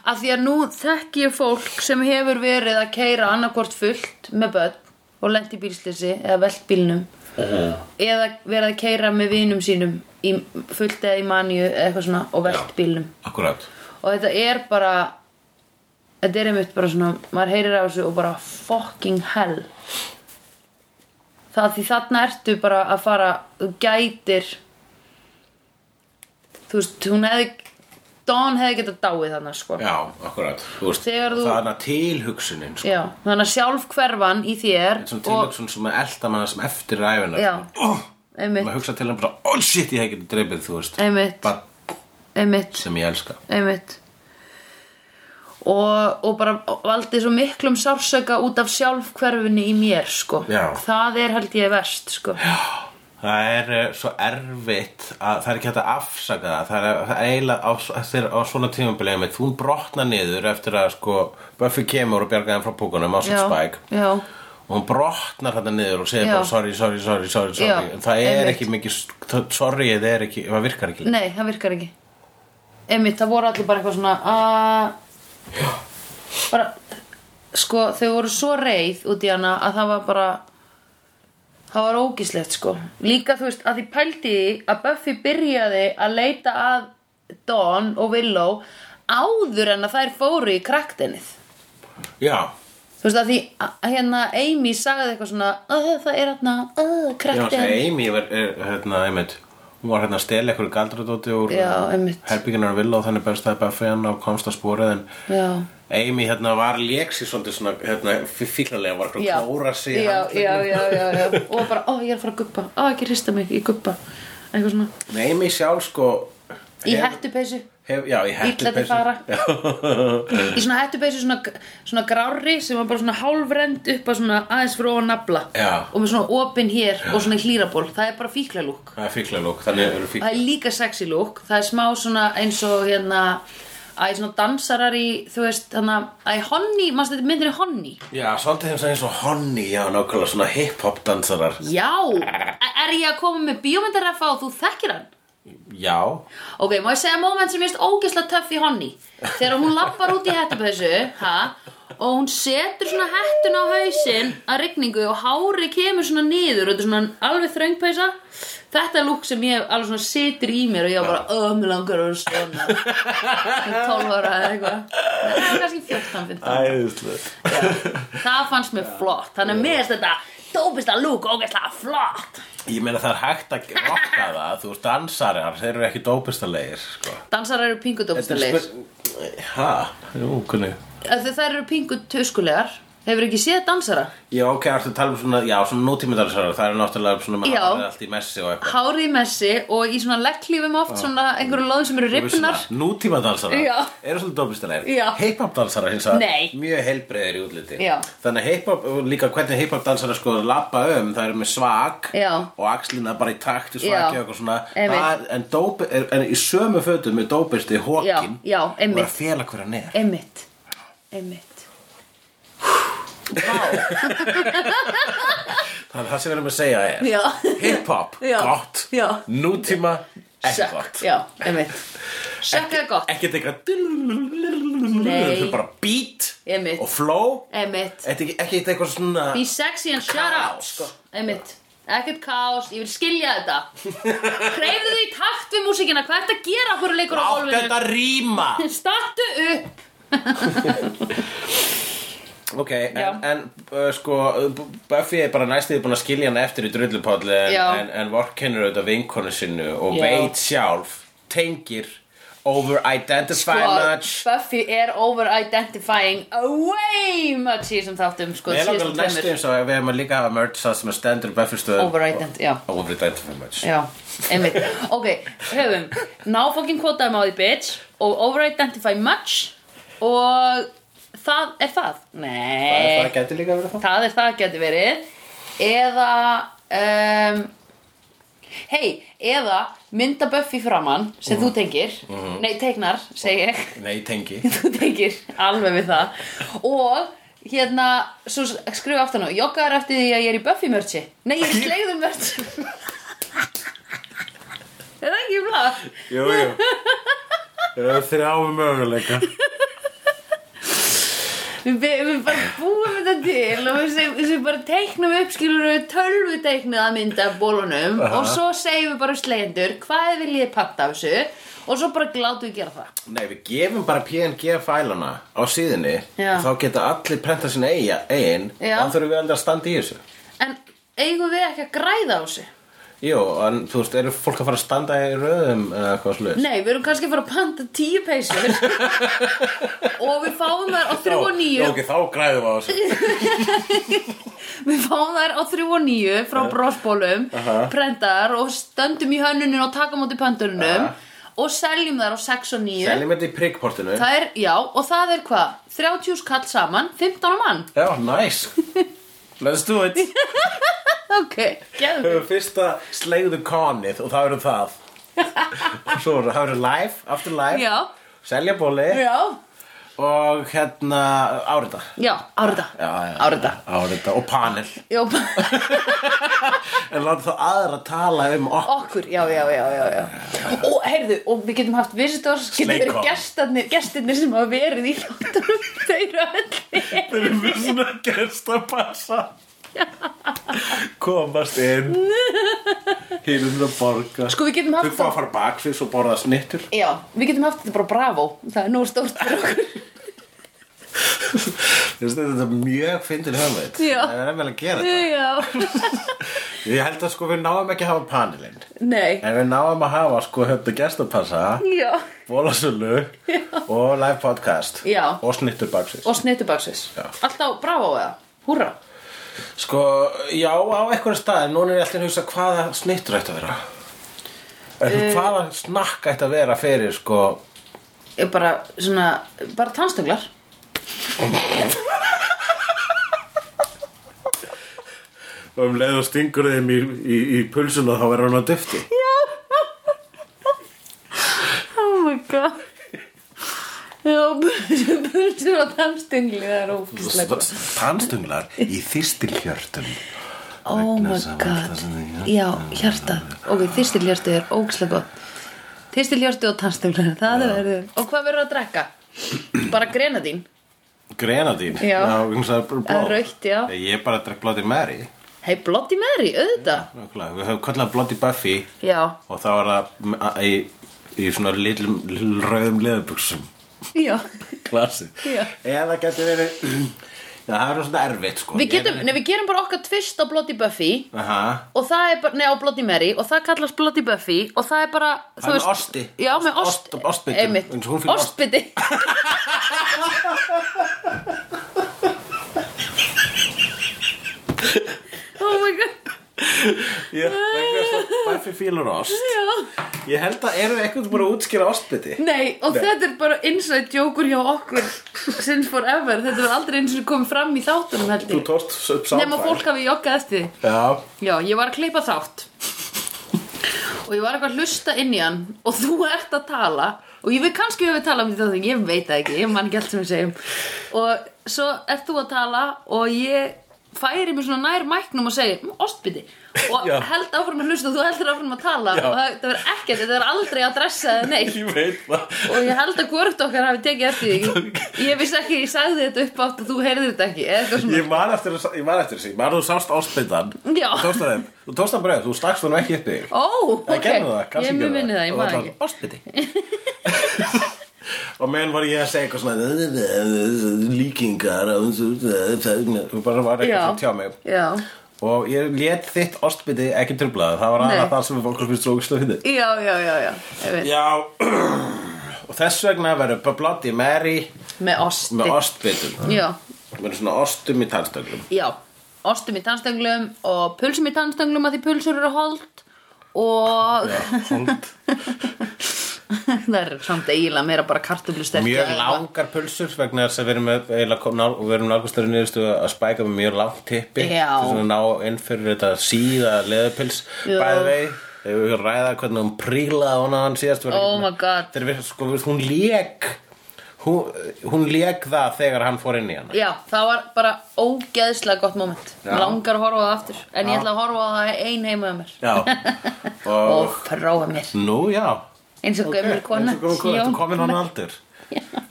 Af því að nú þekki ég fólk sem hefur verið að keira annarkvort fullt með börn og lent í bílslisi eða velt bílnum eða verið að keira með vinum sínum í, fullt eða í manju eða eitthvað svona og velt Já. bílnum Akkurát og þetta er bara þetta er einmitt bara svona maður heyrir á þessu og bara fucking hell það því þarna ertu bara að fara þú gætir þú veist, hún hefði Dawn hefði getað dáið þarna sko Já, akkurát Þú veist, Þegar þú- Það er hana tilhugsunin sko. Já, þannig að sjálf hverfan í þér Svona tilhugsun sem að elda manna sem eftir ræfina Já. oh, einmitt, Maður hugsa til hann bara, oh shit, ég hef getið dreipið þú veist Einmitt. Bara einmitt, sem ég elska einmitt og, og bara valdið svo miklum sársöka út af sjálf hverfunni í mér sko Já. það er held ég verst sko Já. Það er eh, svo erfitt að það er ekki hægt að afsaka það Það er, það er eiginlega á, þeir, á svona tímabilið með þú brotna niður eftir að sko Buffy kemur og bjargaði hann frá púkunum á Já, svo spæk já, og hún brotnar þetta niður og segir Já. bara sorry, sorry, sorry, sorry, sorry. Já, En það er einmitt. ekki mikið, það- sorry, það er ekki, það virkar ekki nei, það virkar ekki einmitt, það voru allir bara eitthvað svona að bara, sko, þau voru svo reið út í hana að það var bara það var ógislegt sko líka þú veist að því pældi í því að Buffy byrjaði að leita að Dawn og Willow áður en að þær fóru í kraktennið Já, þú veist að því að hérna Amy sagði eitthvað svona "Ö, það er hérna uh, Já, krakten þessi Amy var, er, hérna, einmitt Hún var hérna að stela eitthvað galdradóti úr um, Já, einmitt. herbygginar vill og þannig best að Buffy hann og komst að spórið en já Amy hérna var léksi svolítið svona hérna, fílarlega var eitthvað já. að klóra sig í já, handleggnum. já, já, já, já. og bara, ó, ég er að fara að guppa ó, ekki hrista mig, ég guppa eitthvað svona, En Amy sjálf sko í hef- hettupeysu hef, Já, í hættu Illa til fara. í svona hettupeysu, svona, svona grári sem var bara svona hálfrend upp að svona aðeins fyrir ofan nafla Já. og með svona opin hér og svona hlýraból það er bara fíkla lúk Það er fíklarlók, þannig eru það fíklar er líka sexy lúk það er smá svona eins og hérna að svona dansarar í, þú veist, hann að honni, mannstu þetta myndir í honni Já, svolítið þeim sem eins og Honey, já, nákvæmlega svona hip-hop dansarar Já, er ég að koma með bíómyndarrefa og þú þekkir hann? Já, Ok, má ég segja moment sem ég veist ógeðslega töff í honni Þegar hún lappar út í hættupessu ha, og hún setur svona hettun á hausinn að rigningu og hárið kemur svona niður og þetta er svona alveg þröngpæsa þetta er lúk sem ég alveg svona situr í mér og ég var bara, öð, mér langar að vera svona Ég er 12 ára eða eitthvað Nei, það var kannski 14, 15 Æðislega það fannst mér flott þannig að mér finnst þetta dópista lúk ógeðslega flott Ég meina það er hægt að rokka það Þú veist dansarar, þeir eru ekki dópistalegir sko. dansar eru pingu Þetta dópista er leir spurn- Ha? Jú, hvernig þær eru pingu tuskulegar hefur ekki séð dansara Já, ok, ertu að tala um svona, já, svona nútímidansarar Það eru náttúrulega svona með Já. hárið allt í messi og eitthvað hárið í messi og í svona legglífum oft svona einhverju loðum sem eru ripnar Já. Nútímadansarar eru svolítið Já. dópistalegir Hip-hop dansarar hins að Nei. mjög heilbreiðir í útliti Já. Þannig að hip-hop, og líka hvernig hip-hop dansarar sko lappa um, það eru með svag Já. og axlina bara í takt í Já. svaki og eitthvað svona Einmitt. Það- en, dópi, er, en í sömu fötum er dópisti hókin Já, já, og einmitt. er að fela hverja neð Emmitt Emmitt Það er það sem við erum að segja er Já. Hip-hop, Já. gott, Já. nútíma, ekki Sökk, gott já, emmitt Sökk er gott Ekkert eitthvað Þau bara beat Einmitt. og flow Emmitt Ekkert ekki eitthvað svona Be sexy and shut up Kaos. sko. Emmitt Ekkert kaos, ég vil skilja þetta Hreyfðu þig í takt við músíkina Hvað ertu að gera okkur leikur á Átt gólfinu? þetta rýma Stattu upp sko. Ok, Já. en, en uh, sko B- Buffy er bara næstuði búin að skilja hana eftir í drullupolli en, Já. en, en vorkennur auðvitað vinkonu sinnu og Já. veit sjálf tengir over identify Sko, much Buffy er over identifying way much í þessum þáttum sko, Ég langar síðustu næstu tveimur. eins og við hefum líka að merge það sem er stendur Buffy stöðum Over ident- já. Over identify much Já, einmitt Ok, höfum Ná fokkin kvotaðum á því bitch Og over-identify much Og það er það Það Nei, það gæti líka verið það það er það geti verið Eða um, Hei, eða mynda Buffy framann sem Mhm. þú tengir, nei teiknar segi ég, Nei, tengi þú tengir alveg við það og hérna, svo skrifa aftan á jogga er eftir því að ég er í Buffy mörtsi nei, ég er í slegðu mörtsi er það ekki blá? Jú, jú Það eru þrjá um möguleika Við, við, við bara búum þetta til og við, sem, sem bara teiknum upp skilur við tölvu teiknið að mynda af bólunum Aha. og svo segjum við bara slegjendur hvað vil ég patta af þessu og svo bara glátum við gera það Nei, við gefum bara PNG fælana á síðinni Já. og þá geta allir prenta sinna eiga, eigin Já. og þá þurfum við aldrei að standa í þessu en eigum við ekki að græða á þessu? Jú, en þú veist, eru fólk að fara að standa í röðum eða hvað sluðis? Nei, við erum kannski að fara að panta tíu peysur og við fáum þær á þrjú og níu Ok, þá græðum við á þessu við fáum þær á þrjú og níu frá brosbólum Aha. prentaðar og stöndum í hönnunin og taka á móti pöntunum Aha. og seljum þær á sex og níu Seljum þetta í prickportinu Það er, já, og það er hvað? 30 skall saman, 15 á mann Já, nice Let's do it Ok, Við geðum höfum fyrsta slegðu konið og það eru það og svo eru- það eru live, aftur live Já. selja bóli Já, og hérna árita já, árita Árita árita og panel Já, en láta þá aðra tala um okkur okkur, já, já, já, já, já Og heyrðu, og við getum haft visitors Getum Sleikon. verið gestarnir, gestirnir sem hafa verið í þáttunum Þau eru öll þeir eru með svona gestapassa komast inn hinum að borga Sko, við getum haft þau fá að fara baksins og borða snittur Já, við getum haft þetta bara bravo Það er nóg stórt fyrir okkur Þessi, þetta er mjög fyndin höfnveit Já. það er vel að gera þetta Já, ég held að sko við náum ekki að hafa panelinn nei En við náum að hafa sko höfðu gestapassa, Já, bólasölu og live podcast Já. og snittur baksins. og snittubaksins Já. Alltaf bravo eða, húrra Sko, já, á einhverjum stað, núna er ég alltaf að hugsa hvaða snittur ætti að vera. Uh, Eh. hvaða snakk ætti að vera fyrir sko, er bara svona, bara tannstönglar um leið og stingur þeim í, í, í pulsuna þá verður hann að dufti. Oh my god Já, bulsur á tannstöngli það er ógæslega Tannstunglar í þyrstilhjörtum. Oh my Vegna þess að god vantar sem þig, Já, hjarta, ok, þyrstilhjörtu er ógæslega gott Þyrstilhjörtu og tannstönglar, það er verður Og hvað verður að drekka? Bara grenadín Grenadín Já. hún sagði bara Eða blóð rautt, já. Ég bara drekk Bloody Mary Hei, Bloody Mary, auðvitað Nákvæmlega. Við höfum kallað Bloody Buffy Já, og þá var það m- í, í svona litlum litlum rauðum leðubuxum já Klasi Já. Eða geti verið Já, það er svona erfitt sko Við getum, nei, við gerum bara okkar tvist á Bloody Buffy Aha og það er bara, nei á Bloody Mary og það kallast Bloody Buffy og það er bara, þú Það er með osti. Já, með ost, Ost- ost- ostbitum. Einmitt, Eins og hún fílar ost. ostbiti Oh my god, Ég, vegna þess að Buffy fílur ost já Ég held að eru eitthvað búin að útskýra ostbytti Nei, og þetta er bara inside joker hjá okkur since forever, þetta er aldrei eins og komið fram í þáttunum held Þú ég tórt upp sáfæl Nefn að fólk hafi joggað eftir því Já, Já, ég var að klippa þátt og ég var eitthvað að hlusta inn í hann og þú ert að tala og ég veit kannski hefur talað um því þáttum, ég veit það ekki, ég man ekki allt sem við segjum og svo ert þú að tala og ég færi mér svona nær mæknum og segi "Mm, ostbiti og Já. held áfram að hlusta og þú heldur áfram að tala Já. og það, það verður ekkert, þetta er aldrei að dressa eða neitt ég veit það og ég held að hvort okkar hafi tekið eftir því ég vissi ekki, ég sagði þetta upp átt og þú heyrðir þetta ekki eða eitthvað svona Ég man eftir, þessu- ég man eftir þessi, ég man að þú sást ástbyndan Já. Þú tókst hann upp, þú tókst hann bara upp, þú stakst hann ekki upp í þig Ó, Það ok, gerðu það, ég kannski mun minni það, ég maður ekki Ástbytti Og meðan var ég að segja eitthvað svona Líkingar og Þú bara var eitthvað Já. svona tjá mig Já, Og ég let þitt ástbytti ekki trublaða Það var aðra Nei. það sem fólk finnst rókislega fyrir já, já, já, já, ég veit Já Og þess vegna verður bara Bloody Mary Með osti Með ástbyttum Já, Verður svona ostum í tannstöglum já, ostum í tannstöngglum og pulsum í tannstöngglum að því pulsur eru holdt og það er samt eiginlega meira bara kartöflustekki Mjög langar pulsur vegna þess að við erum með- eiginlega kom- nál- við erum nálgustur nýðustu að spæka með mjög langt tippi Já. þess að ná inn fyrir þetta síða leðupils Já. bæði vei þegar við ræða hvernig hún prílaði hún að hann síðast var Oh ekki- my god. þegar við, sko, við, hún lék hún, hún lék það þegar hann fór inn í hana Já, það var bara ógeðslega gott moment Já. Langar að horfa á það aftur En Já. ég ætla að horfa á það ein heima með mér Já, Og og prófa mér nú já Eins og gömur kona Eins og gömul kona, Já. Þetta komin hann aldur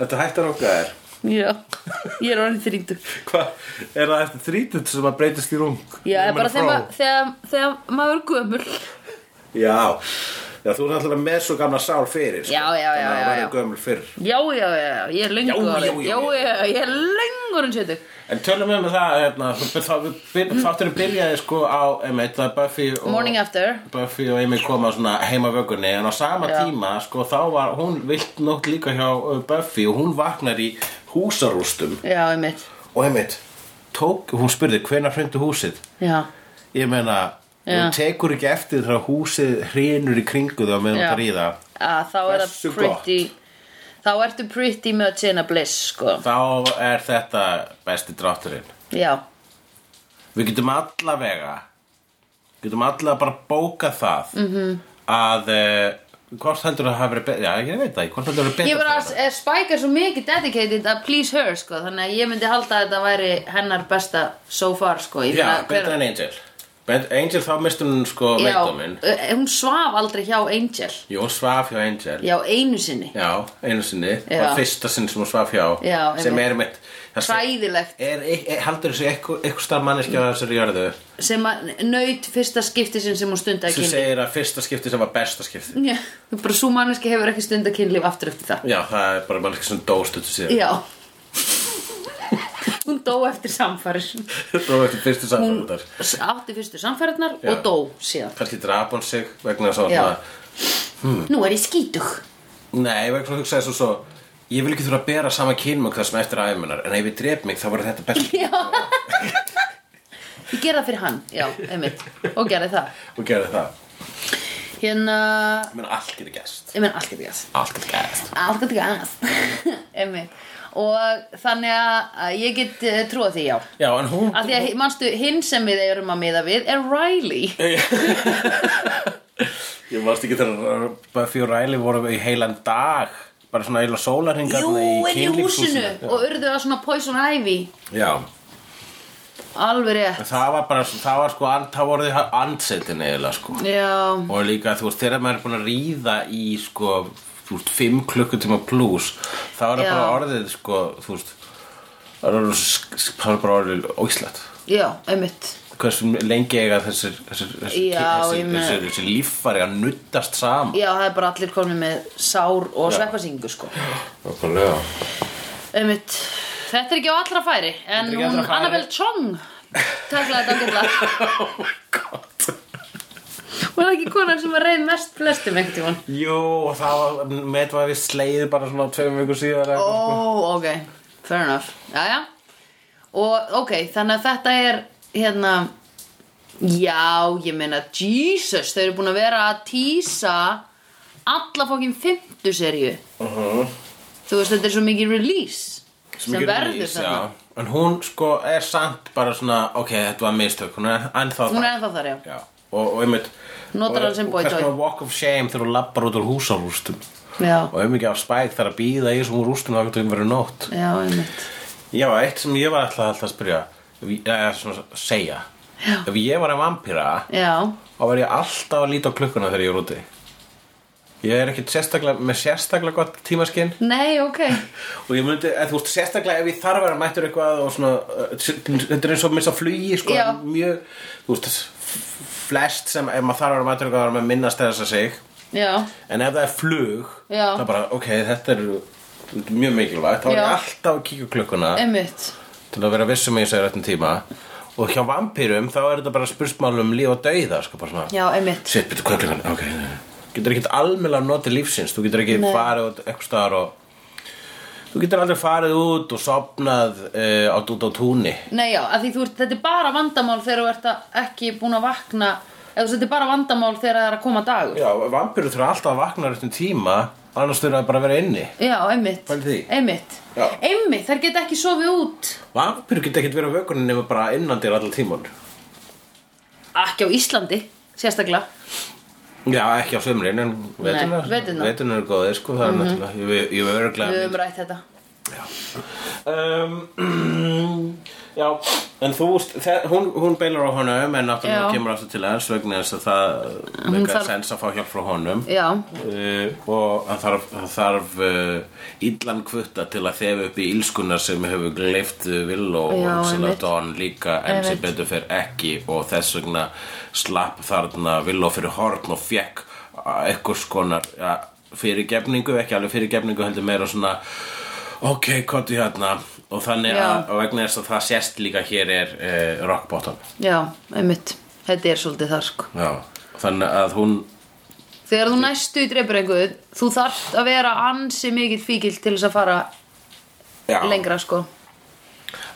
Þetta hættar okkar Já, ég er orðin þrýndur Hvað, er það eftir þrítund sem að breytist í rung? Já, Woman bara of þegar, Row? ma- þegar, þegar maður er gömul Já, já þú er náttúrulega með svo gamla sál fyrir sko. Já, já, já, Þannig að já, það verður já. gömul fyrr Já, já, já, ég er lengur Já, já, orðin- já, já. já, ég er lengur en sjötu En tölum við með það, hérna, þá- þá- þá- þátturinn byrjaði sko á einmitt, það er Buffy og Morning after Buffy og Amy koma svona heima vögunni en á sama Já. tíma, sko, þá var hún vilt nótt líka hjá uh, Buffy og hún vaknar í húsarústum Já, einmitt og einmitt, tók, hún spurði hvenær hrundi húsið Já, Ég meina, Já. hún tekur ekki eftir þegar húsið hrinur í kringu þá meðan Já. það ríða að þá er það Hversu gott. pretty Þá ertu pretty much in a bliss, sko Þá er þetta besti drátturinn Já, Við getum allavega Getum allavega bara bókað það -hmm. Mhm. Að uh, Hvort heldur það hafi verið betra Já, ég veit það, ekki, hvort heldur það hafi ég verið var betra að eh, Spike er svo mikið dedicated að please her, sko Þannig að ég myndi halda að þetta væri hennar besta so far, sko Ég Já, meina, hver- betra en Angel Bet- Angel þá mistur hún sko veikdóminn Já, eh, hún svaf aldrei hjá Angel Jú, hún svaf hjá Angel Já, einu sinni Já, einu sinni, Já. var fyrsta sinn sem hún svaf hjá Já, sem einmitt. er mitt Hræðilegt er, er, Haldur þessu eitthvað, eitthvað starf manneskja á Mm. þessari jörðu sem að naut fyrsta skipti sinn sem hún stundaði sem kynlíf segir að fyrsta skipti sem var besta skipti Já, bara svo manneski hefur ekki stundað kynlíf aftur eftir það Já, það er bara mannskja sem dóstutu síðan Mm. Já Hún dó eftir samfæris Það var eftir fyrstu Hún samfélagdar átti fyrstu samfærinar Já. og dó síðan Kannski draf hún sig vegna þess að Já. svona Nú er ég skítug Nei, vegna þess að hugsaði svo svo Ég vil ekki þurfa að bera sama kynmögg það sem eftir aðeimunar En ef ég dref mig þá verður þetta best Já Ég gera það fyrir hann, já, einmitt Og gerði það Og gerði það Hérna, Ég meina allt getur gæst ég menn allt getur gæst Allt getur gæst Allt getur gæst Einmitt Og þannig að að ég get eh, trúað því, já Já, en hún Af því að, manstu, hinn sem við erum að miða við er Riley Ég varst ekki þegar Buffy og Riley voru í heilan dag Bara svona eila sólarhingar Jú, inn í húsinu og urðu að svona Poison Ivy Já, Alveg rétt það var bara, það var sko, það voru þið andsetin eiginlega sko Já, Og líka þú veist, þegar maður er búin að ríða í sko, þú veist, fimm klukkutíma plus Þá er það Já. bara orðið sko, þú veist það er alveg svo sk- það er bara orðið óíslegt já, einmitt hversu lengi eiga þessir þessir, þessir, Já, þessir, ég meina- þessir, þessir líffari að nuttast saman já, það er bara allir komin með sár og Já. sveppasingu sko Nákvæmlega. Einmitt. Þetta er ekki á allra færi En Þetta er ekki á hún allra færi. Annabelle Chong Taklaði þetta ágætlega oh my god Hún er ekki konan sem var reið mest flestum einhvern tímann Jú, og það var, met var við sleið bara svona tveim vikur síðar eða Ó, eitthvað, ok, fair enough Jæja Og ok, þannig að þetta er hérna Já, ég meina Jesus, þau eru búin að vera að tísa alla fokkin fimmtu serju Þú veist, þetta er svo mikið release sko. sem Mhm. Mikið verður release, þarna já. En hún sko er samt bara svona, ok, þetta var mistök, hún er ennþá Hún er það. ennþá þar, já Já, og, og einmitt. Notar hann sem boy Og toy. hvers konar walk of shame þegar hún lappar út úr húsarústum. Já, Og einmitt af spæk þarf að býða í þessum rústum þá getur verið nótt. já, einmitt Já, eitt sem ég var alltaf alltaf að spyrja, ef ég- eða svona að segja. Já. Ef ég var að vampýra, Já, þá var ég alltaf að líta á klukkuna þegar ég er úti. Ég er ekkert sérstaklega, með sérstaklega gott tímaskinn. nei, ok og ég myndi, eða þú veist, sérstaklega ef ég þarf að vera mættur eitthvað og svona uh, þetta er eins og minnst á flugi, sko Já. mjög, þú veist, f- flest sem ef maður þarf að vera mættur eitthvað þá er maður að minnast þess að sig Já, en ef það er flug, Já. það bara, ok, þetta er mjög mikilvægt, þá er Já. ég alltaf að kíkja á klukkuna einmitt til að vera vissum að ég segir réttum tíma og hjá vampýrum þá er þetta bara spursmál um líf og dauða, sko, bara svona Já, einmitt Sitt, betur, hvað er klukkan? Ok, nei, nei. Þú getur ekkert almennlega notið lífsins Þú getur ekki Nei. farið út eitthvað staðar og Þú getur aldrei farið út og sopnað uh, át út á túni Nei, já, af því þú ert, þetta er bara vandamál þegar þú ert að- ekki búin að vakna eða þú veist, þetta er bara vandamál þegar það er að koma dagur Já, vampirur þurfa alltaf að vakna réttum tíma annars þurfa það bara að vera inni Já, einmitt Pældi því. Einmitt Já. Einmitt, þær geta ekki sofið út Vampirur getur ekkert verið á vökunni nema bara innan dyr allan tíman Ekki á Íslandi, sérstaklega Já, ekki á sömurinn, en veturnar veturna. Mhm. Veturnar eru góðið, sko, það er náttúrulega Ég, ég verður Við glæð höfum rætt þetta um, Já, en þú veist, þe- hún, hún beilar á honum en náttúrulega Já. kemur aftur til hans vegna þess að það Hún meikar þarf- sens að fá hjálp frá honum Já, uh, og hann þarf, hann þarf uh, illan kvötta til að þefa upp í ílskuna sem hefur gleift vill og Já, hugsanlega einmitt. Don líka en sem Einmitt. betur fer ekki og þess vegna slapp þarna vill og fyrir horn og fekk eitthvað skonar ja, fyrirgefningu, ekki alveg fyrirgefningu heldur meira svona ok, komdu hérna og þannig Já. að, og vegna þess að það sést líka hér er uh, rock bottom já, einmitt Þetta er svolítið þar, sko Já. þannig að hún Þegar þú næstu dreipur einhver þú þarft að vera ansi mikill fíkil til þess að fara Já. lengra, sko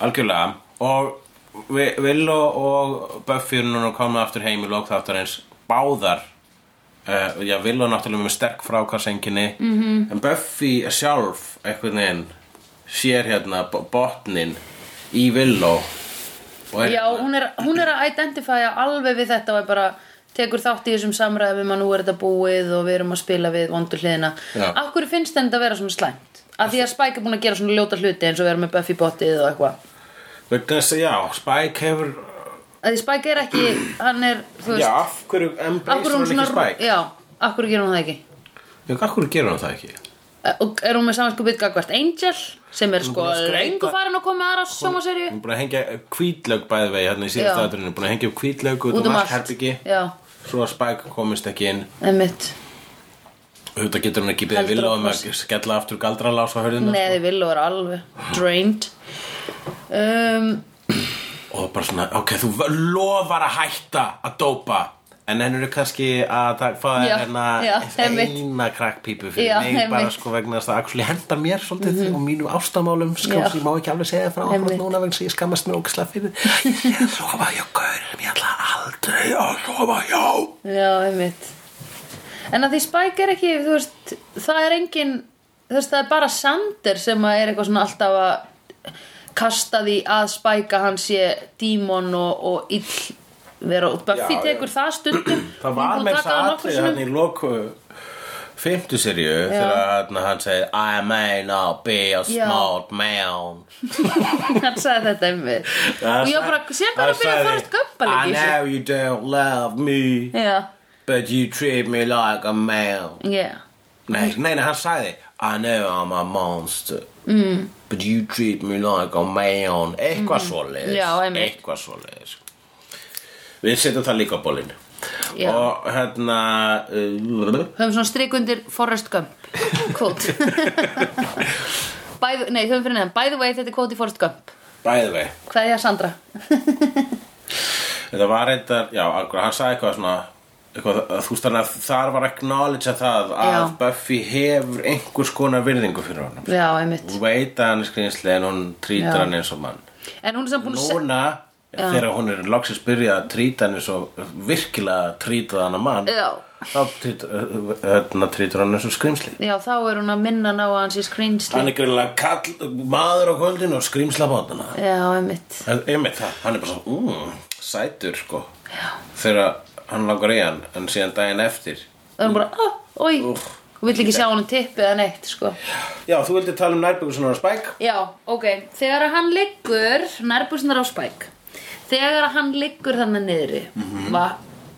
Algjörlega og Vi- Willow og Buffy er núna komin aftur heim í lókþáttarins báðar uh, já, Willow náttúrulega með sterk frákvarsenginni mm Mhm. -hmm. en Buffy sjálf einhvern veginn sér hérna bo- botnin í Willow og er, Já, hún er, hún er að identifæja alveg við þetta og er bara tekur þátt í þessum samræðum um að nú er þetta búið og við erum að spila við vondur hliðina. Já. Af hverju finnst henni þetta að vera svona slæmt? Af því að Spike er búin að gera svona ljóta hluti eins og vera með Buffy botið og eitthvað. vegna þess að já, Spike hefur Af því Spike er ekki, hann er, þú veist, já, af hverju af embrace hverju hún hún ekki svona, Spike já, af hverju gerir hún það ekki? já, af hverju gerur hún það ekki Eh, Og er hún með samanskupið gagvart Angel sem er sko búin að skreyta- lengur farin að koma með aðra sjómaserju hún er búin að hengja kvítlög bæði vegi hérna í síðast Já. aðurinn búin að hengja upp kvítlög út út um allt herbyggi Já, Svo að Spike komist ekki inn emmitt. Þetta getur hún ekki beðið Heldur vilja um okkur. að skella aftur galdralás á hörðina Nei, þið vill og er alveg drained. Um, Og bara svona, ok, þú lofar að hætta að dópa En henn eru kannski að það fáið Já, hennar já, einmitt. eina krakkpípu fyrir Já, mig bara einmitt. Mhm. sko vegna þess að actually henda mér svolítið og mínum ástamálum sko, Já. sem ég má ekki alveg segja frá Einmitt. okkur núna vegna sem ég skammast mér ógislega fyrir Ég lofa hjá gaurum, ég ætla aldrei að lofa hjá Já, einmitt En að því Spike er ekki, þú veist það er engin, þú veist það er bara Sander sem að er eitthvað svona alltaf að kasta því að Spike að hann sé dímon og, og ill vera út Buffy Já, tekur það stundum Það var með þess að atrið hann hann í loku fymtu serju þegar þarna hann segi I may not be a Já. smart man Hann sagði þetta einmitt Og ég var bara, sem bara að byrja að farast gömpa I líki know you don't love me Já, but you treat me like a man já Nei, nei, nei, hann sagði I know I'm a monster mm. but you treat me like a man eitthvað mm. svoleiðis Já, einmitt. eitthvað svoleiðis við setjum það líka á bólinn Já. og hérna uh, höfum svona strikundir Forrest Gump kvót By the- nei, höfum fyrir nefn by the way, þetta er kvót í Forrest Gump bæði vei hvað er Sandra? þetta var reyndar, já, akkur, hann sagði eitthvað svona eitthvað, að- þú veist þannig að þar var acknowledge að það að Já. Buffy hefur einhvers konar virðingu fyrir honum já, einmitt hún veit að hann er skrýnsli en hún Já. trýtar hann eins og mann en hún er samt búin að se- núna þegar hún er loksins byrjað að trýta hann eins og virkilega trýta hann að mann já, þá hérna, trýtur hann eins og skrýmsli já, þá er hún að minna ná að hans í skrýnsli hann er greinlega kall, maður á kvöldin og skrýmsla bátana já, einmitt En einmitt það, hann er bara svo mm, sætur sko Já. þegar hann langar í hann en síðan daginn eftir það er hún bara, ah, oi Úff. hún vill ekki sjá hún um tippi eða neitt sko. Já, þú vildi tala um nærbyggusunar og spæk Já, ok, þegar að hann liggur nærbúsnar á spæk þegar að hann liggur þannig niðri mm -hmm.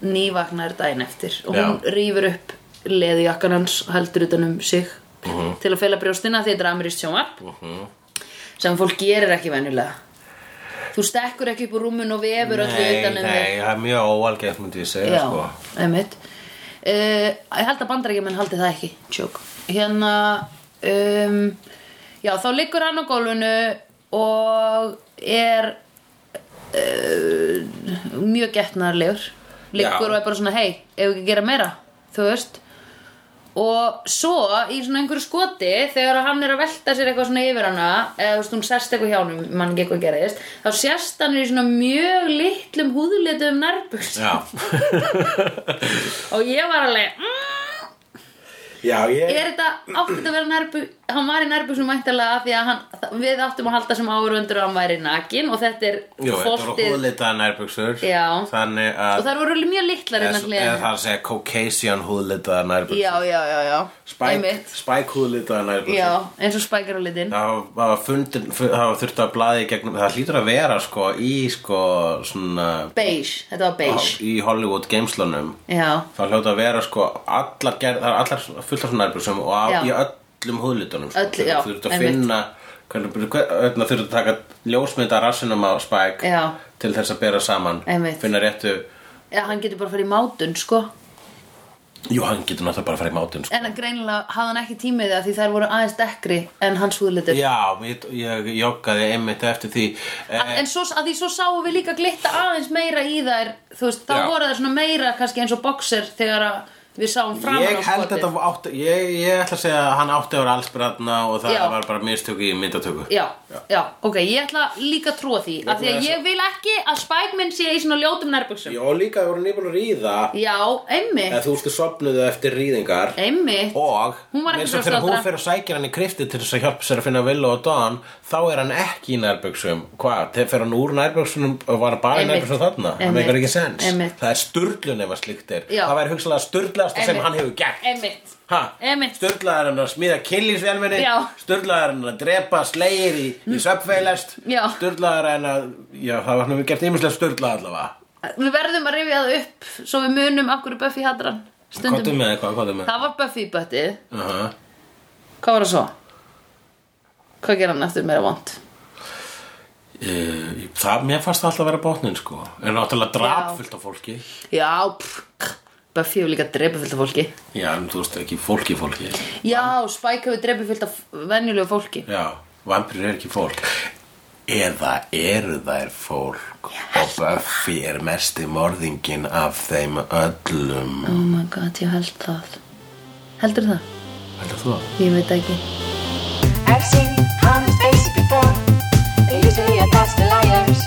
nývagnar daginn eftir og Mhm. Já. hún rýfur upp leðjakkan hans heldur utan um sig Mhm. til að fela brjóstina því þetta er amirist sjónvarp sem fólk gerir ekki venjulega þú stekkur ekki upp úr rúmun og vefur öllu utan um þig nei, það er mjög óalgætt myndi ég segja Já, sko einmitt uh, Ég held að bandarækjumenn haldi það ekki Tjók Hérna um, Já, þá liggur hann á gólfinu og er uh, mjög getnaðarlegur Liggur Já. og er bara svona Hei, ef ekki að gera meira Þú veist Og svo í svona einhverju skoti þegar hann er að velta sér eitthvað svona yfir hana eða þú veist hún sest eitthvað hjá hann mann ekki eitthvað gerðist þá sérst hann í svona mjög litlum húðulitum nærbukst Já, og ég var alveg mm, Já ég er þetta átti þetta að vera nærbuk hann var í nærbuk sem mæntalega því að hann, við áttum að halda sem árundur og hann væri nakin og þetta er Jú, þetta voru þoltið- húðlitaða nærbuksur Já. Þannig og að það voru alveg mjög litlar Eða innan eða það hliðin er að segja Caucasian húðlitaða nærbuksur já, já, já, já Spæk, Einmitt. spæk húðlitaða nærbuksur já, eins og spækir á litin Það var fundin, fu- það var þurft að blaði í gegnum, það hlýtur að vera sko í sko svona beige, þetta var á, beige í Hollywood geimslunum já, Það hljóta að vera sko allar gerð, það er allar svona- fullt af svona nærbjörnsum og á, Já. í öllum húðlitunum sko. Öll- já, Þú þurft að einmitt. finna, hvernig, hvernig þurft að taka ljósmynda rassinum á spæk Já. til þess að bera saman Einmitt. Finna réttu, já, hann getur bara að fara í mátun sko jú hann getur náttúrulega bara að fara í mátinn sko. en greinilega hafði hann ekki tímið það því þær voru aðeins dekkri en hans húðlitur Já, ég, ég joggaði einmitt eftir því en, en svo, að því svo sáum við líka glitta aðeins meira í þær þú veist, þá Já. voru þær svona meira kannski eins og boxer þegar að við sáum framan Eh, Ég á held skotið. þetta var átt, ég, ég ætla að segja að hann átti að vera allsbranna og það Já. var bara mistök í myndatöku já, já, ok, ég ætla líka að trúa því af því að ég vil ekki að Spike minn sé í svona ljótum nærbuxum já, Og líka voru nýbúin að ríða einmitt, eða þú veistu sopnuðu eftir ríðingar einmitt og Hún var ekki eins og brjóstlátra. þegar hún fer og sækir hann í krifti til þess að hjálpa sér að finna Willow og Dawn þá er hann ekki í nærböksum hvað, þegar fer hann úr nærböksunum og var bara í Einmitt. nærböksum þarna það Einmitt. meikar ekki sens, Einmitt. það er sturlun ef að slíkt er, Já. það væri hugsalega sturlaðasta sem Einmitt. hann hefur gert einmitt, Einmitt. Sturlaðar hann að smíða killisvelminni Já. Mm. Sturlaðar hann að drepa slegir í, í söpfeilest Já. Sturlaðar hann að Já, það var hann við gert ýmislega sturlað allavega við verðum að rifja það upp svo við munum af hverju Buffy hattar hann Kottu stundum, með eitthvað, kottu með það var Buffy böttið uh -huh. hvað var það svo? hvað gerði hann eftir meira vond? Uh, það, mér fannst það alltaf að vera botnin sko En náttúrulega drap Já. fullt af fólki já, pff, Buffy hefur líka drepa fullt af fólki Já, en þú veist ekki fólki fólki Já, Spike hefur drefið fyllt af venjulegu fólki Já, vampirur er ekki fólk Eða eru þær fólk Og Buffy er mesti morðingin af þeim öllum Oh my god, ég held það Heldur það? Heldur þú það? Ég veit ekki I've seen honest faces before. They usually are past the liars.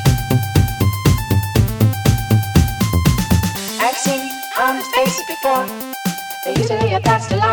I've seen honest faces before. They usually are past the liars.